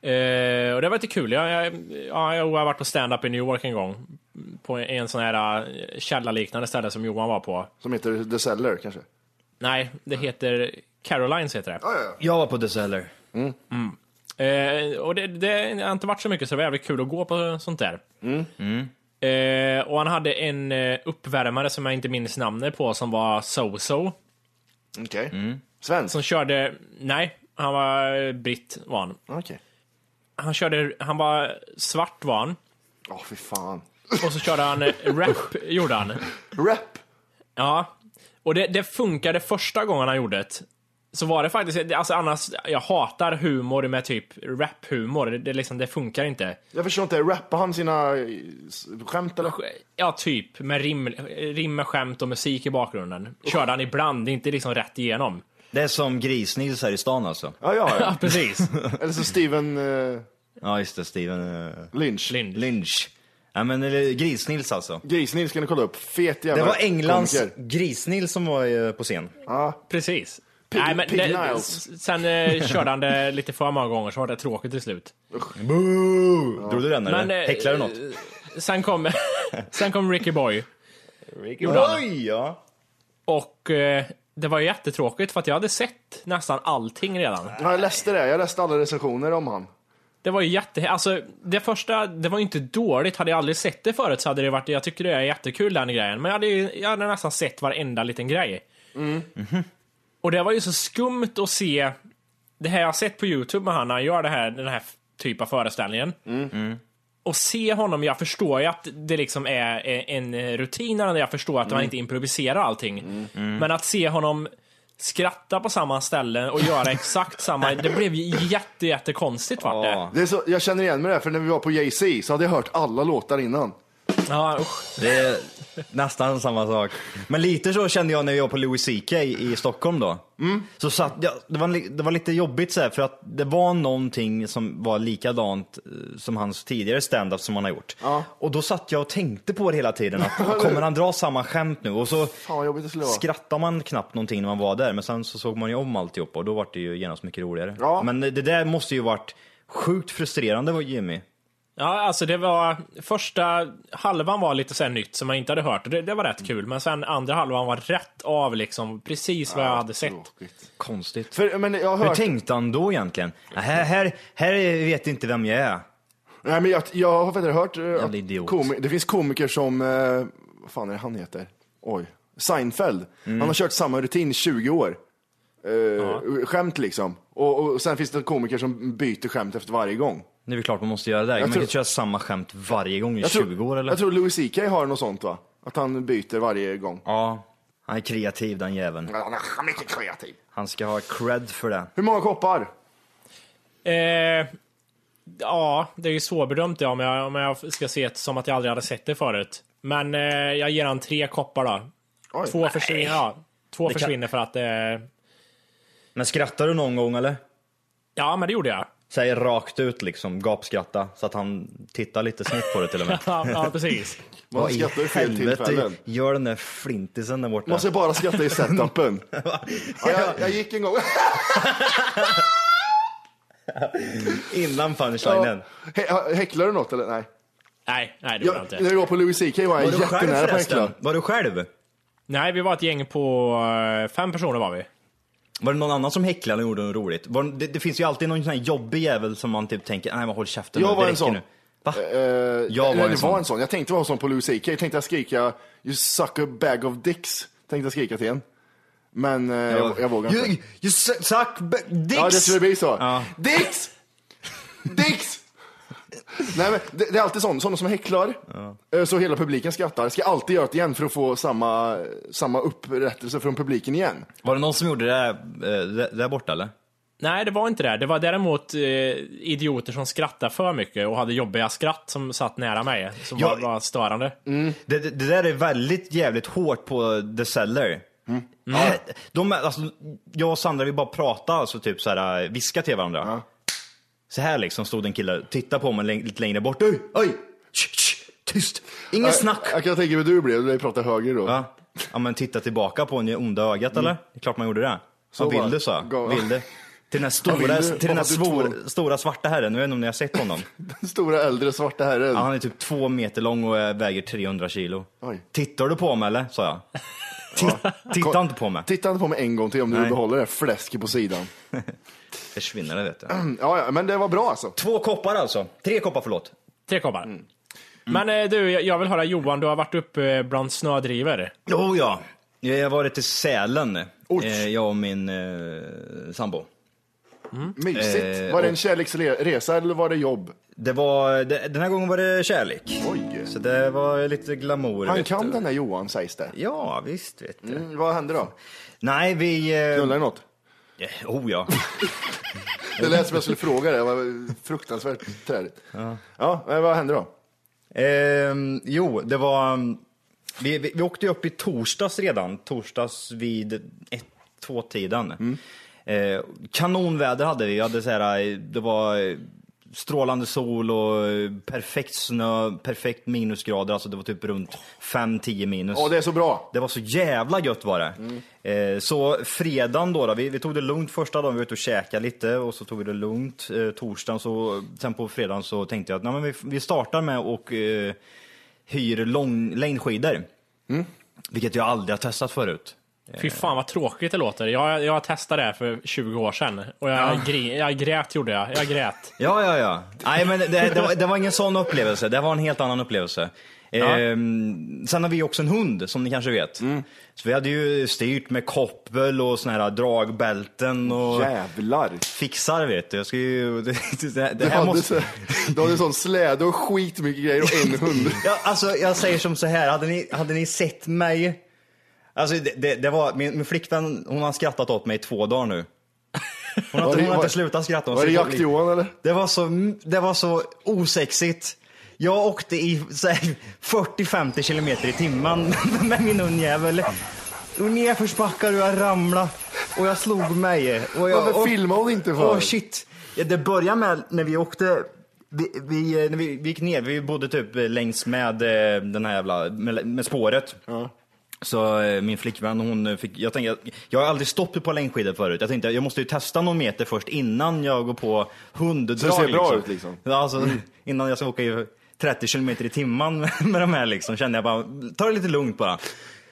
[SPEAKER 3] Eh, och det var lite kul. Jag, jag, ja, jag har varit på stand-up i New York en gång. På en sån här eh, källarliknande ställe som Johan var på.
[SPEAKER 2] Som heter The Seller, kanske.
[SPEAKER 3] Nej, det heter... Carolines heter det.
[SPEAKER 2] Ja, ja, ja.
[SPEAKER 6] Jag var på The Cellar.
[SPEAKER 3] Eh, och det, det har inte varit så mycket så det var jävligt kul att gå på sånt där. Eh, och han hade en eh, uppvärmare som jag inte minns namnet på som var So-So.
[SPEAKER 2] Okej.
[SPEAKER 6] Mm.
[SPEAKER 2] Svensk?
[SPEAKER 3] Som körde, nej, han var eh, britt var han.
[SPEAKER 2] Okej.
[SPEAKER 3] Han körde, han var svart var han.
[SPEAKER 2] Ja, fy fan.
[SPEAKER 3] Och så körde han eh, rap, gjorde han.
[SPEAKER 2] Rap.
[SPEAKER 3] Ja. Och det, det funkade första gången han gjorde det. Så var det faktiskt, alltså annars, jag hatar humor med typ rap-humor. Det, det, liksom, det funkar inte.
[SPEAKER 2] Jag förstår inte, rappar han sina eh, s- skämt eller?
[SPEAKER 3] Ja, typ. Med rim, rim med skämt och musik i bakgrunden. Körde han ibland, det är inte liksom rätt igenom.
[SPEAKER 6] Det är som Grisnils här i stan alltså.
[SPEAKER 2] Ja, ja, ja.
[SPEAKER 3] Ja, precis.
[SPEAKER 2] Eller så Steven eh,
[SPEAKER 6] Ja just det, Steven eh,
[SPEAKER 2] Lynch.
[SPEAKER 3] Lind.
[SPEAKER 6] Lynch. Ja men eller Grisnils alltså.
[SPEAKER 2] Grisnils kan ni kolla upp. Fet jävla
[SPEAKER 6] Det var Englands
[SPEAKER 2] komiker.
[SPEAKER 6] Grisnils som var eh, på scen.
[SPEAKER 3] Precis.
[SPEAKER 2] Pig-
[SPEAKER 3] Nej, men
[SPEAKER 2] Pig
[SPEAKER 3] det,
[SPEAKER 2] Niles.
[SPEAKER 3] s- sen eh, körde han det lite för många gånger, så var det tråkigt till slut.
[SPEAKER 6] Boo! Drog du den eller?
[SPEAKER 3] Men, eh,
[SPEAKER 6] Häcklade du något?
[SPEAKER 3] Sen kom, sen kom Ricky Boy.
[SPEAKER 6] Oj, ja.
[SPEAKER 3] Och eh, det var jättetråkigt, för att jag hade sett nästan allting redan.
[SPEAKER 2] Ja, jag läste det, jag läste alla recensioner om han.
[SPEAKER 3] Det var ju jätte... Alltså, det första, det var ju inte dåligt. Hade jag aldrig sett det förut så hade det varit... Jag tycker det är jättekul den grejen. Men jag hade, ju, jag hade nästan sett varenda liten grej. Och det var ju så skumt att se... Det här jag har sett på YouTube med han när han gör det här, den här typen av föreställningen. Och se honom, jag förstår ju att det liksom är eh, en rutin, när jag förstår att man inte improviserar allting. Men att se honom skratta på samma ställe och göra exakt samma, det blev ju jätte, jättekonstigt vart det.
[SPEAKER 2] Det är så, jag känner igen mig där, för när vi var på Jay-Z så hade jag hört alla låtar innan.
[SPEAKER 3] Ja, usch.
[SPEAKER 6] Det är nästan samma sak. Men lite så kände jag när jag var på Louis CK i Stockholm då. Så satt, jag- det, var, li- det var lite jobbigt så här, för att det var någonting som var likadant eh, som hans tidigare stand-up som han har gjort.
[SPEAKER 2] Ja.
[SPEAKER 6] Och då satt jag och tänkte på det hela tiden. Att, kommer han dra samma skämt nu? Och så
[SPEAKER 2] Fan vad jobbigt det skulle vara.
[SPEAKER 6] skrattar man knappt någonting när man var där. Men sen så såg man ju om alltihop och då var det ju genast mycket roligare.
[SPEAKER 2] Ja.
[SPEAKER 6] Men det det där måste ju varit sjukt frustrerande Jimmy.
[SPEAKER 3] Ja, alltså det var... Första halvan var lite så här nytt som man inte hade hört. och Det, det var rätt kul. Men sen andra halvan var rätt av liksom precis vad jag hade sett.
[SPEAKER 2] Tråkigt.
[SPEAKER 6] Konstigt.
[SPEAKER 2] För, men jag har
[SPEAKER 6] Hur
[SPEAKER 2] hört...
[SPEAKER 6] tänkte han då egentligen? Ja, Här, här, här vet inte vem jag är.
[SPEAKER 2] Nej, men jag, jag har faktiskt hört... eh, att
[SPEAKER 6] idiot.
[SPEAKER 2] komi- det finns komiker som... Eh, vad fan är det han heter? Oj. Seinfeld.
[SPEAKER 6] Mm.
[SPEAKER 2] Han har kört samma rutin i 20 år. Eh, Skämt liksom. Och, och sen finns det komiker som byter skämt efter varje gång.
[SPEAKER 6] Nu är det klart man måste göra det. där. Man
[SPEAKER 2] tror-
[SPEAKER 6] kan inte köra samma skämt varje gång i
[SPEAKER 2] Jag
[SPEAKER 6] 20
[SPEAKER 2] tror,
[SPEAKER 6] år eller?
[SPEAKER 2] Jag tror Louis CK har något sånt va? Att han byter varje gång.
[SPEAKER 6] Ja, han är kreativ den jäveln.
[SPEAKER 2] Han är mycket kreativ.
[SPEAKER 6] Han ska ha cred för det.
[SPEAKER 2] Hur många koppar?
[SPEAKER 3] Eh, ja, det är ju svårbedömt det om jag, om jag ska se det som att jag aldrig hade sett det förut. Men eh, jag ger han tre koppar då.
[SPEAKER 2] Oj.
[SPEAKER 3] Två försvinner, ja, två försvinner för att... Eh,
[SPEAKER 6] Men skrattar du någon gång eller?
[SPEAKER 3] ja, men det gjorde jag.
[SPEAKER 6] Säg rakt ut liksom, gapskratta. Så att han tittar lite snett på det till och med.
[SPEAKER 3] Ja, ja precis.
[SPEAKER 2] Man skrattar i fel tillfällen.
[SPEAKER 6] gör den där flintisen där borta?
[SPEAKER 2] Man ska bara skratta i setupen. ja, jag, jag gick en gång.
[SPEAKER 6] Innan
[SPEAKER 2] Ja.
[SPEAKER 6] punchlinen.
[SPEAKER 2] Hä- Häcklar du något eller? Nej.
[SPEAKER 3] Nej, nej det gjorde jag
[SPEAKER 2] Jag,
[SPEAKER 3] inte.
[SPEAKER 2] när jag var på Louis CK var jag
[SPEAKER 6] Var du själv
[SPEAKER 2] jättenära på att häckla.
[SPEAKER 6] förresten? Var du själv?
[SPEAKER 3] Nej, vi var ett gäng på eh, fem personer var vi.
[SPEAKER 6] Var det någon annan som häcklade och gjorde något roligt? Var, det, det finns ju alltid någon sån här jobbig jävel som man typ tänker, nej men håll käften
[SPEAKER 2] Jag
[SPEAKER 6] nu,
[SPEAKER 2] var
[SPEAKER 6] det
[SPEAKER 2] en
[SPEAKER 6] räcker
[SPEAKER 2] sån. Eh,
[SPEAKER 6] nu. Va?
[SPEAKER 2] Jag
[SPEAKER 6] var
[SPEAKER 2] var,
[SPEAKER 6] en
[SPEAKER 2] en,
[SPEAKER 6] sån.
[SPEAKER 2] var en sån. Jag tänkte vara en sån på Louis CK. Jag tänkte jag skrika You suck a bag of dicks. Tänkte jag skrika till en. Men eh, jag, jag vågar
[SPEAKER 6] You,
[SPEAKER 2] inte.
[SPEAKER 6] you su- suck ba- dicks!
[SPEAKER 2] Ja, det skulle bli så.
[SPEAKER 6] Ja.
[SPEAKER 2] Dicks! Dicks! Nej, men det, det är alltid sån, sådana som häcklar, eh, så hela publiken skrattar, ska alltid göra det igen för att få samma, samma upprättelse från publiken igen.
[SPEAKER 6] Var det någon som gjorde det där, eh, där- där borta eller?
[SPEAKER 3] Nej, det var inte det. Det var däremot eh, idioter som skrattade för mycket och hade jobbiga skratt som satt nära mig. Som
[SPEAKER 6] Ja.
[SPEAKER 3] var, var störande.
[SPEAKER 6] Det, det, det där är väldigt jävligt hårt på The Seller. Ja, de, är- alltså, jag och Sandra vi bara pratade, alltså, typ så här, eh, viska till varandra. Så här liksom stod en kille och tittade på mig läng- lite längre bort. Oj, oj, tsch, tsch, tyst, inget snack.
[SPEAKER 2] Jag, jag kan tänka mig hur du blev, du pratade högre då.
[SPEAKER 6] Va? Ja men titta tillbaka på en i onda ögat eller? Det är klart man gjorde det.
[SPEAKER 2] Så
[SPEAKER 6] Vad
[SPEAKER 2] bara,
[SPEAKER 6] vill du sa
[SPEAKER 2] gå-
[SPEAKER 6] jag. Vill du? Till den här
[SPEAKER 2] Vad vill
[SPEAKER 6] stora,
[SPEAKER 2] du?
[SPEAKER 6] till den här
[SPEAKER 2] Hoppas du
[SPEAKER 6] svår, stora svarta herren, jag vet inte om ni har sett honom.
[SPEAKER 2] Den stora äldre svarta herren.
[SPEAKER 6] Ja, han är typ två meter lång och eh, väger 300 kilo.
[SPEAKER 2] Oj.
[SPEAKER 6] Tittar du på mig eller? sa jag. Titt, titta inte på mig.
[SPEAKER 2] Titta inte på mig en gång till om du
[SPEAKER 6] Nej.
[SPEAKER 2] behåller det här fläsket på sidan. Mm,
[SPEAKER 6] Försvinner det vet du.
[SPEAKER 2] Ja, ja, men det var bra alltså.
[SPEAKER 6] Två koppar alltså. Tre koppar förlåt.
[SPEAKER 3] Tre koppar. Men eh, du, jag- jag vill höra Johan, du har varit uppe eh, bland snödrivor.
[SPEAKER 6] Jo ja. Eh, Jag har varit i Sälen.
[SPEAKER 2] Oj.
[SPEAKER 6] Eh, jag och min eh, sambo.
[SPEAKER 2] Mysigt.
[SPEAKER 6] Eh,
[SPEAKER 2] var det
[SPEAKER 6] och-
[SPEAKER 2] en kärleksresa eller var det jobb?
[SPEAKER 6] Det var, det, den här gången var det kärlek.
[SPEAKER 2] Oj.
[SPEAKER 6] Så det var lite glamour.
[SPEAKER 2] Han
[SPEAKER 6] vet
[SPEAKER 2] kan
[SPEAKER 6] du.
[SPEAKER 2] den här Johan sägs det.
[SPEAKER 6] Ja, visst vet du.
[SPEAKER 2] Mm, vad hände då?
[SPEAKER 6] Nej, vi... Eh,
[SPEAKER 2] Knullade ni något?
[SPEAKER 6] oh ja.
[SPEAKER 2] Det lät som jag skulle fråga det, det var fruktansvärt trädigt. Ja. men vad hände då?
[SPEAKER 6] Ehm, jo, det var... mm, Vi, vi, vi åkte ju upp i torsdags redan, torsdags vid ett, två tiden. Eh, kanonväder hade vi, vi hade så här, eh, det var eh, strålande sol och eh, perfekt snö, perfekt minusgrader, alltså det var typ runt 5-10 minus.
[SPEAKER 2] Ja, det är så bra.
[SPEAKER 6] Det var så jävla gött var det. Eh, så fredagen då, då vi, vi tog det lugnt första dagen, vi var ute och käkade lite och så tog vi det lugnt. Eh, torsdagen så, sen på fredagen så tänkte jag att nej, men vi, vi startar med och eh, hyr lång, längdskidor. Vilket jag aldrig har testat förut.
[SPEAKER 3] Fy fan vad tråkigt det låter. Jag, jag testade det här för 20 år sedan och jag, gri, jag grät gjorde jag. Jag grät.
[SPEAKER 6] Ja, ja, ja. Nej, men det, det, var, det var ingen sån upplevelse. Det var en helt annan upplevelse. Ehm, sen har vi också en hund, som ni kanske vet. Så vi hade ju styrt med koppel och såna här dragbälten och
[SPEAKER 2] Jävlar.
[SPEAKER 6] fixar vet du. Jag ska ju... Det, det, det
[SPEAKER 2] Du
[SPEAKER 6] här
[SPEAKER 2] hade,
[SPEAKER 6] måste...
[SPEAKER 2] så, du hade sån släde och skitmycket grejer och en hund.
[SPEAKER 6] Ja, alltså, jag säger som så här, hade ni, hade ni sett mig... Alltså, det, det, det var, min, min flickvän hon har skrattat åt mig i två dagar nu. Hon har,
[SPEAKER 2] Var
[SPEAKER 6] inte,
[SPEAKER 2] det-
[SPEAKER 6] hon har
[SPEAKER 2] var-
[SPEAKER 6] inte slutat skratta. Hon
[SPEAKER 2] Var det
[SPEAKER 6] ser-
[SPEAKER 2] jakt Johan eller?
[SPEAKER 6] det, var så, det var så osexigt. Jag åkte i så här 40-50 kilometer i timmen med min hundjävel. Och nedförsbackar och jag ramlade och jag slog mig. Och jag,
[SPEAKER 2] Varför
[SPEAKER 6] och,
[SPEAKER 2] filmar hon inte för?
[SPEAKER 6] Åh shit. Ja, det började med när vi åkte, vi, vi, eh, när vi, vi gick ner, vi bodde typ eh, längs med eh, den här jävla, med, med spåret. Så eh, min flickvän, hon eh, fick, jag tänkte, jag- jag har aldrig stått på längdskidor förut. Jag tänkte jag måste ju testa någon meter först innan jag går på hunddrag.
[SPEAKER 2] Så det ser bra ut, liksom.
[SPEAKER 6] Ja, Alltså, Innan jag ska åka i 30 kilometer i timmen med, med de här liksom, kände jag bara, ta det lite lugnt bara.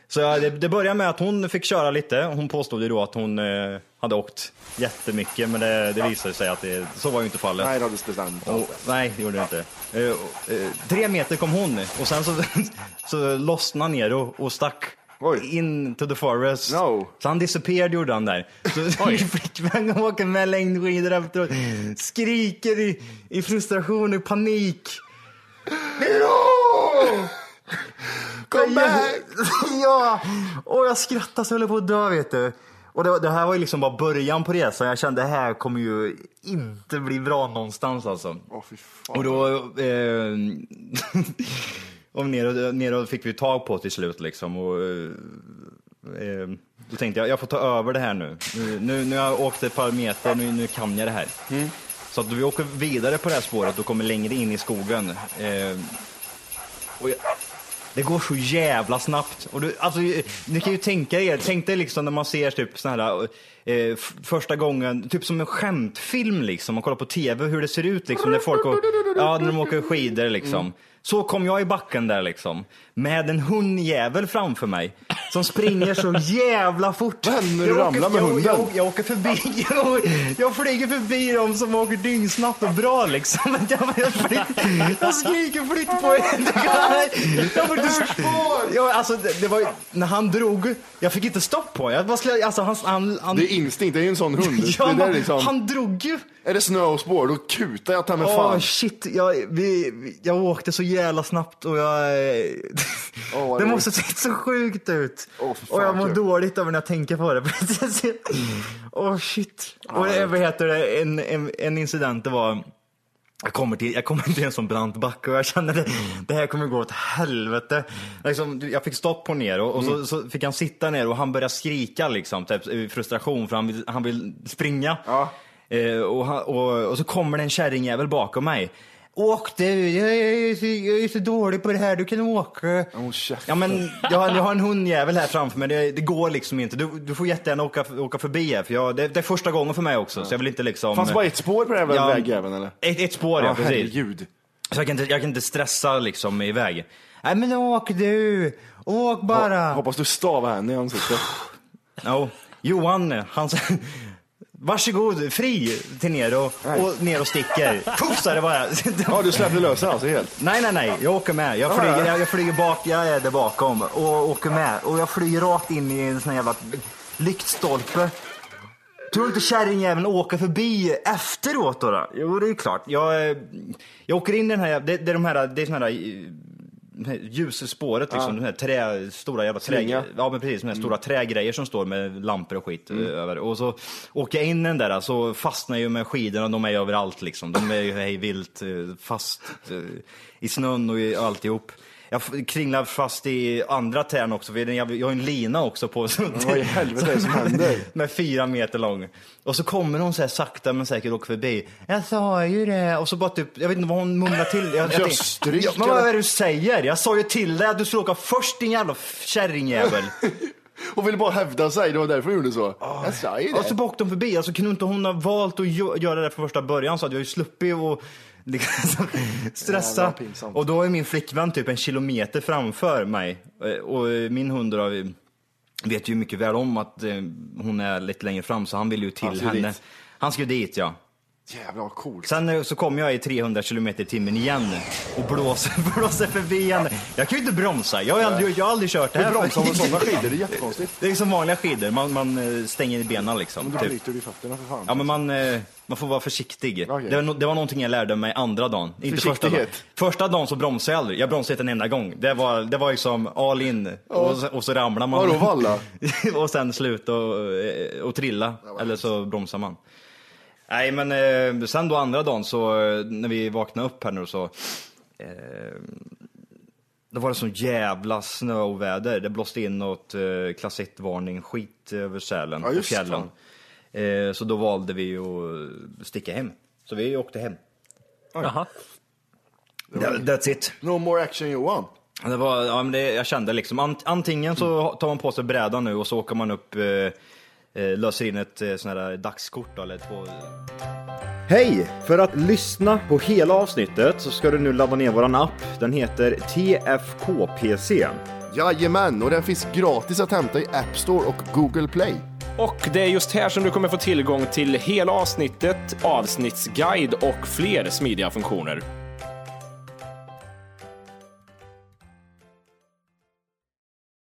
[SPEAKER 6] Så jag, det, det började med att hon fick köra lite. Hon påstod ju då att hon eh, hade åkt jättemycket, men det, det visade sig att det, så var ju inte fallet.
[SPEAKER 2] Nej, det hade bestämt.
[SPEAKER 6] Och, nej, det gjorde det inte. Eh, och, eh, tre meter kom hon och sen så, så lossnade han ner och, och stack.
[SPEAKER 2] Oj.
[SPEAKER 6] Into the forest.
[SPEAKER 2] No.
[SPEAKER 6] Så han disappeared gjorde han där. Så min flickvän åker med längdskidor efteråt. Skriker i, i frustration och panik.
[SPEAKER 2] Kom back!
[SPEAKER 6] ja! Och jag skrattade så jag höll på att dö vet du. Och det, var- det här var ju liksom bara början på resan. Jag kände det här kommer ju inte bli bra någonstans alltså.
[SPEAKER 2] Åh, fy fan.
[SPEAKER 6] Och då... Eh, och neråt, neråt fick vi tag på till slut liksom. Och, eh, eh, då tänkte jag, jag får ta över det här nu. Nu, nu, nu har jag åkt ett par meter, nu, nu kan jag det här. Så att vi åker vidare på det här spåret och kommer längre in i skogen. Eh, och jag, det går så jävla snabbt. Och du, alltså, ni kan ju tänka er, tänk dig liksom när man ser typ såna här, eh, f- första gången, typ som en skämtfilm liksom. Man kollar på tv hur det ser ut liksom när folk och, ja, när de åker skidor liksom.
[SPEAKER 2] Mm.
[SPEAKER 6] Så kom jag i backen där liksom. Med en hundjävel framför mig. Som springer så jävla fort.
[SPEAKER 2] Vad hände när du
[SPEAKER 6] Jag åker-
[SPEAKER 2] ramlade med
[SPEAKER 6] jag-
[SPEAKER 2] hunden?
[SPEAKER 6] Jag, jag åker förbi, jag, jag flyger förbi dem som åker dyngsnabbt och bra liksom. Men Jag, jag, flyt, jag skriker flytt på er. Jag får inte jag, alltså, det, det var, ju- när han drog, jag fick inte stopp på jag bara, slä- alltså, han, han, han,
[SPEAKER 2] Det är instinkt, det är ju en sån hund.
[SPEAKER 6] Ja,
[SPEAKER 2] det där
[SPEAKER 6] man-
[SPEAKER 2] är, liksom,
[SPEAKER 6] han drog ju.
[SPEAKER 2] är det snö och spår, då kutar jag ta mig
[SPEAKER 6] Åh
[SPEAKER 2] fan.
[SPEAKER 6] shit, jag, vi, vi- jag åkte så jävla snabbt och jag...
[SPEAKER 2] Åh, vad
[SPEAKER 6] det
[SPEAKER 2] roligt.
[SPEAKER 6] måste ha sett så sjukt ut.
[SPEAKER 2] Åh, för fan,
[SPEAKER 6] och jag mår
[SPEAKER 2] kul.
[SPEAKER 6] dåligt över när jag tänker på det. Åh shit. och det, vad heter det, en, en, en incident det var... Jag kommer, till, jag kommer till en sån brant backe och jag känner det,
[SPEAKER 2] Mm.
[SPEAKER 6] det här kommer gå åt helvete. Liksom, du- jag fick stopp på ner och, och så,
[SPEAKER 2] Mm.
[SPEAKER 6] så fick han sitta ner och han började skrika liksom, typ, i frustration för han vill, han vill springa.
[SPEAKER 2] Ja.
[SPEAKER 6] Eh, och, han, och, och så kommer det en kärringjävel bakom mig. Åk du, jag, är så, jag är så dålig på det här, du kan åka.
[SPEAKER 2] Åh, Oh, käften.
[SPEAKER 6] Ja men jag har, jag har en hundjävel här framför mig, det, det går liksom inte. Du, du får jättegärna åka, åka förbi här för jag, det, det är första gången för mig också så jag vill inte liksom...
[SPEAKER 2] Fanns det bara ett spår på den här
[SPEAKER 6] Ja.
[SPEAKER 2] vägjäveln eller?
[SPEAKER 6] Ett, ett spår ja,
[SPEAKER 2] Ja,
[SPEAKER 6] precis.
[SPEAKER 2] herregud.
[SPEAKER 6] Så jag kan inte, jag kan inte stressa liksom iväg. Nej men åk du, åk bara.
[SPEAKER 2] Hoppas du stavar henne i ansiktet.
[SPEAKER 6] Ja, Johan, han sa, varsågod, fri till Nero och ner och sticker. Puff sa det bara.
[SPEAKER 2] Ja, du släppte lös den alltså helt.
[SPEAKER 6] Nej, nej, nej, jag åker med. Jag
[SPEAKER 2] Ja, ja.
[SPEAKER 6] flyger, jag, jag flyger bak, jag är där bakom och åker med. Och jag flyger rakt in i en sån här jävla lyktstolpe. Tror du inte kärringjäveln åker förbi efteråt då? då? Jo, det är ju klart. Jag, eh, jag åker in i den här, det, det är de här, det är såna här eh, det här ljusspåret liksom, de här trä, stora jävla trä,
[SPEAKER 2] Slinga. Mm.
[SPEAKER 6] ja, men precis, de här stora trägrejer som står med lampor och skit eh, över. Och så åker jag in i den där så fastnar jag ju med skidorna, de är ju överallt liksom. De är ju hej vilt eh, fast eh, i snön och i alltihop. Jag f- kringlar fast i andra tärn också, för jag jag har ju en lina också på. Så
[SPEAKER 2] Vad i helvete är det som händer?
[SPEAKER 6] med fyra meter lång. Och så kommer hon så här sakta men säkert åker förbi. Jag sa ju det. Och så bara typ, jag vet inte vad hon mumlar till. Jag, jag tänkte,
[SPEAKER 2] stryk,
[SPEAKER 6] ja, men vad
[SPEAKER 2] eller?
[SPEAKER 6] är det du säger? Jag sa ju till dig att du skulle åka först din jävla f- kärringjävel.
[SPEAKER 2] Hon ville bara hävda sig, det var därför hon gjorde så. Jag sa ju
[SPEAKER 6] och så
[SPEAKER 2] det.
[SPEAKER 6] bara åkte hon förbi. Alltså kunde inte hon ha valt att gö- göra det från första början så hade jag ju sluppit och liksom stressa.
[SPEAKER 2] Jävla pinsamt.
[SPEAKER 6] Och då är min flickvän typ en kilometer framför mig. Eh, Och eh, min hund då, eh, vet ju mycket väl om att eh, hon är lite längre fram så han vill ju till
[SPEAKER 2] Han ska ju
[SPEAKER 6] henne.
[SPEAKER 2] dit.
[SPEAKER 6] Han ska ju dit ja.
[SPEAKER 2] Jävlar vad coolt.
[SPEAKER 6] Sen eh, så kom jag i 300 km i timmen igen och blåser, blåser förbi henne. Jag kan ju inte bromsa. Jag har aldrig, jag har aldrig kört det
[SPEAKER 2] Du
[SPEAKER 6] här.
[SPEAKER 2] bromsar med sådana skidor, det är jättekonstigt.
[SPEAKER 6] Det är som vanliga skidor. Man, man eh, stänger i benen liksom.
[SPEAKER 2] Men då
[SPEAKER 6] typ.
[SPEAKER 2] bryter du i fötterna för fan.
[SPEAKER 6] Ja, men man, eh, man får vara försiktig.
[SPEAKER 2] Okej.
[SPEAKER 6] Det, var, no- det var någonting jag lärde mig andra dagen. Inte första dagen.
[SPEAKER 2] Försiktighet.
[SPEAKER 6] Första dagen så bromsade jag aldrig. Jag bromsade inte en enda gång. Det var, det var liksom all in och, så- och så ramlar man.
[SPEAKER 2] Vadå, valla?
[SPEAKER 6] och sen slut och, eh, och trilla. Eller
[SPEAKER 2] alltså.
[SPEAKER 6] så bromsar man. Nej men eh, sen då andra dagen så eh, när vi vaknade upp här nu så eh, då var det sån jävla snöoväder. Det blåste in något eh, klass 1-varning skit över Sälen
[SPEAKER 2] Ja,
[SPEAKER 6] och
[SPEAKER 2] just
[SPEAKER 6] fjällen. Eh, så då valde vi att sticka hem. Så vi åkte hem.
[SPEAKER 3] Jaha.
[SPEAKER 6] That- That's it.
[SPEAKER 2] No more action Johan.
[SPEAKER 6] Ja, Det var, ja, men det, jag kände liksom, ant, antingen så
[SPEAKER 5] Mm.
[SPEAKER 6] tar man på sig brädan nu och så åker man upp, eh, eh, löser in ett eh, sån här dagskort då, eller två.
[SPEAKER 5] Hej! För att lyssna på hela avsnittet så ska du nu ladda ner våran app. Den heter TFKPC.
[SPEAKER 2] Jajamän, och den finns gratis att hämta i App Store och Google Play.
[SPEAKER 7] Och det är just här som du kommer få tillgång till hela avsnittet, avsnittsguide och fler smidiga funktioner.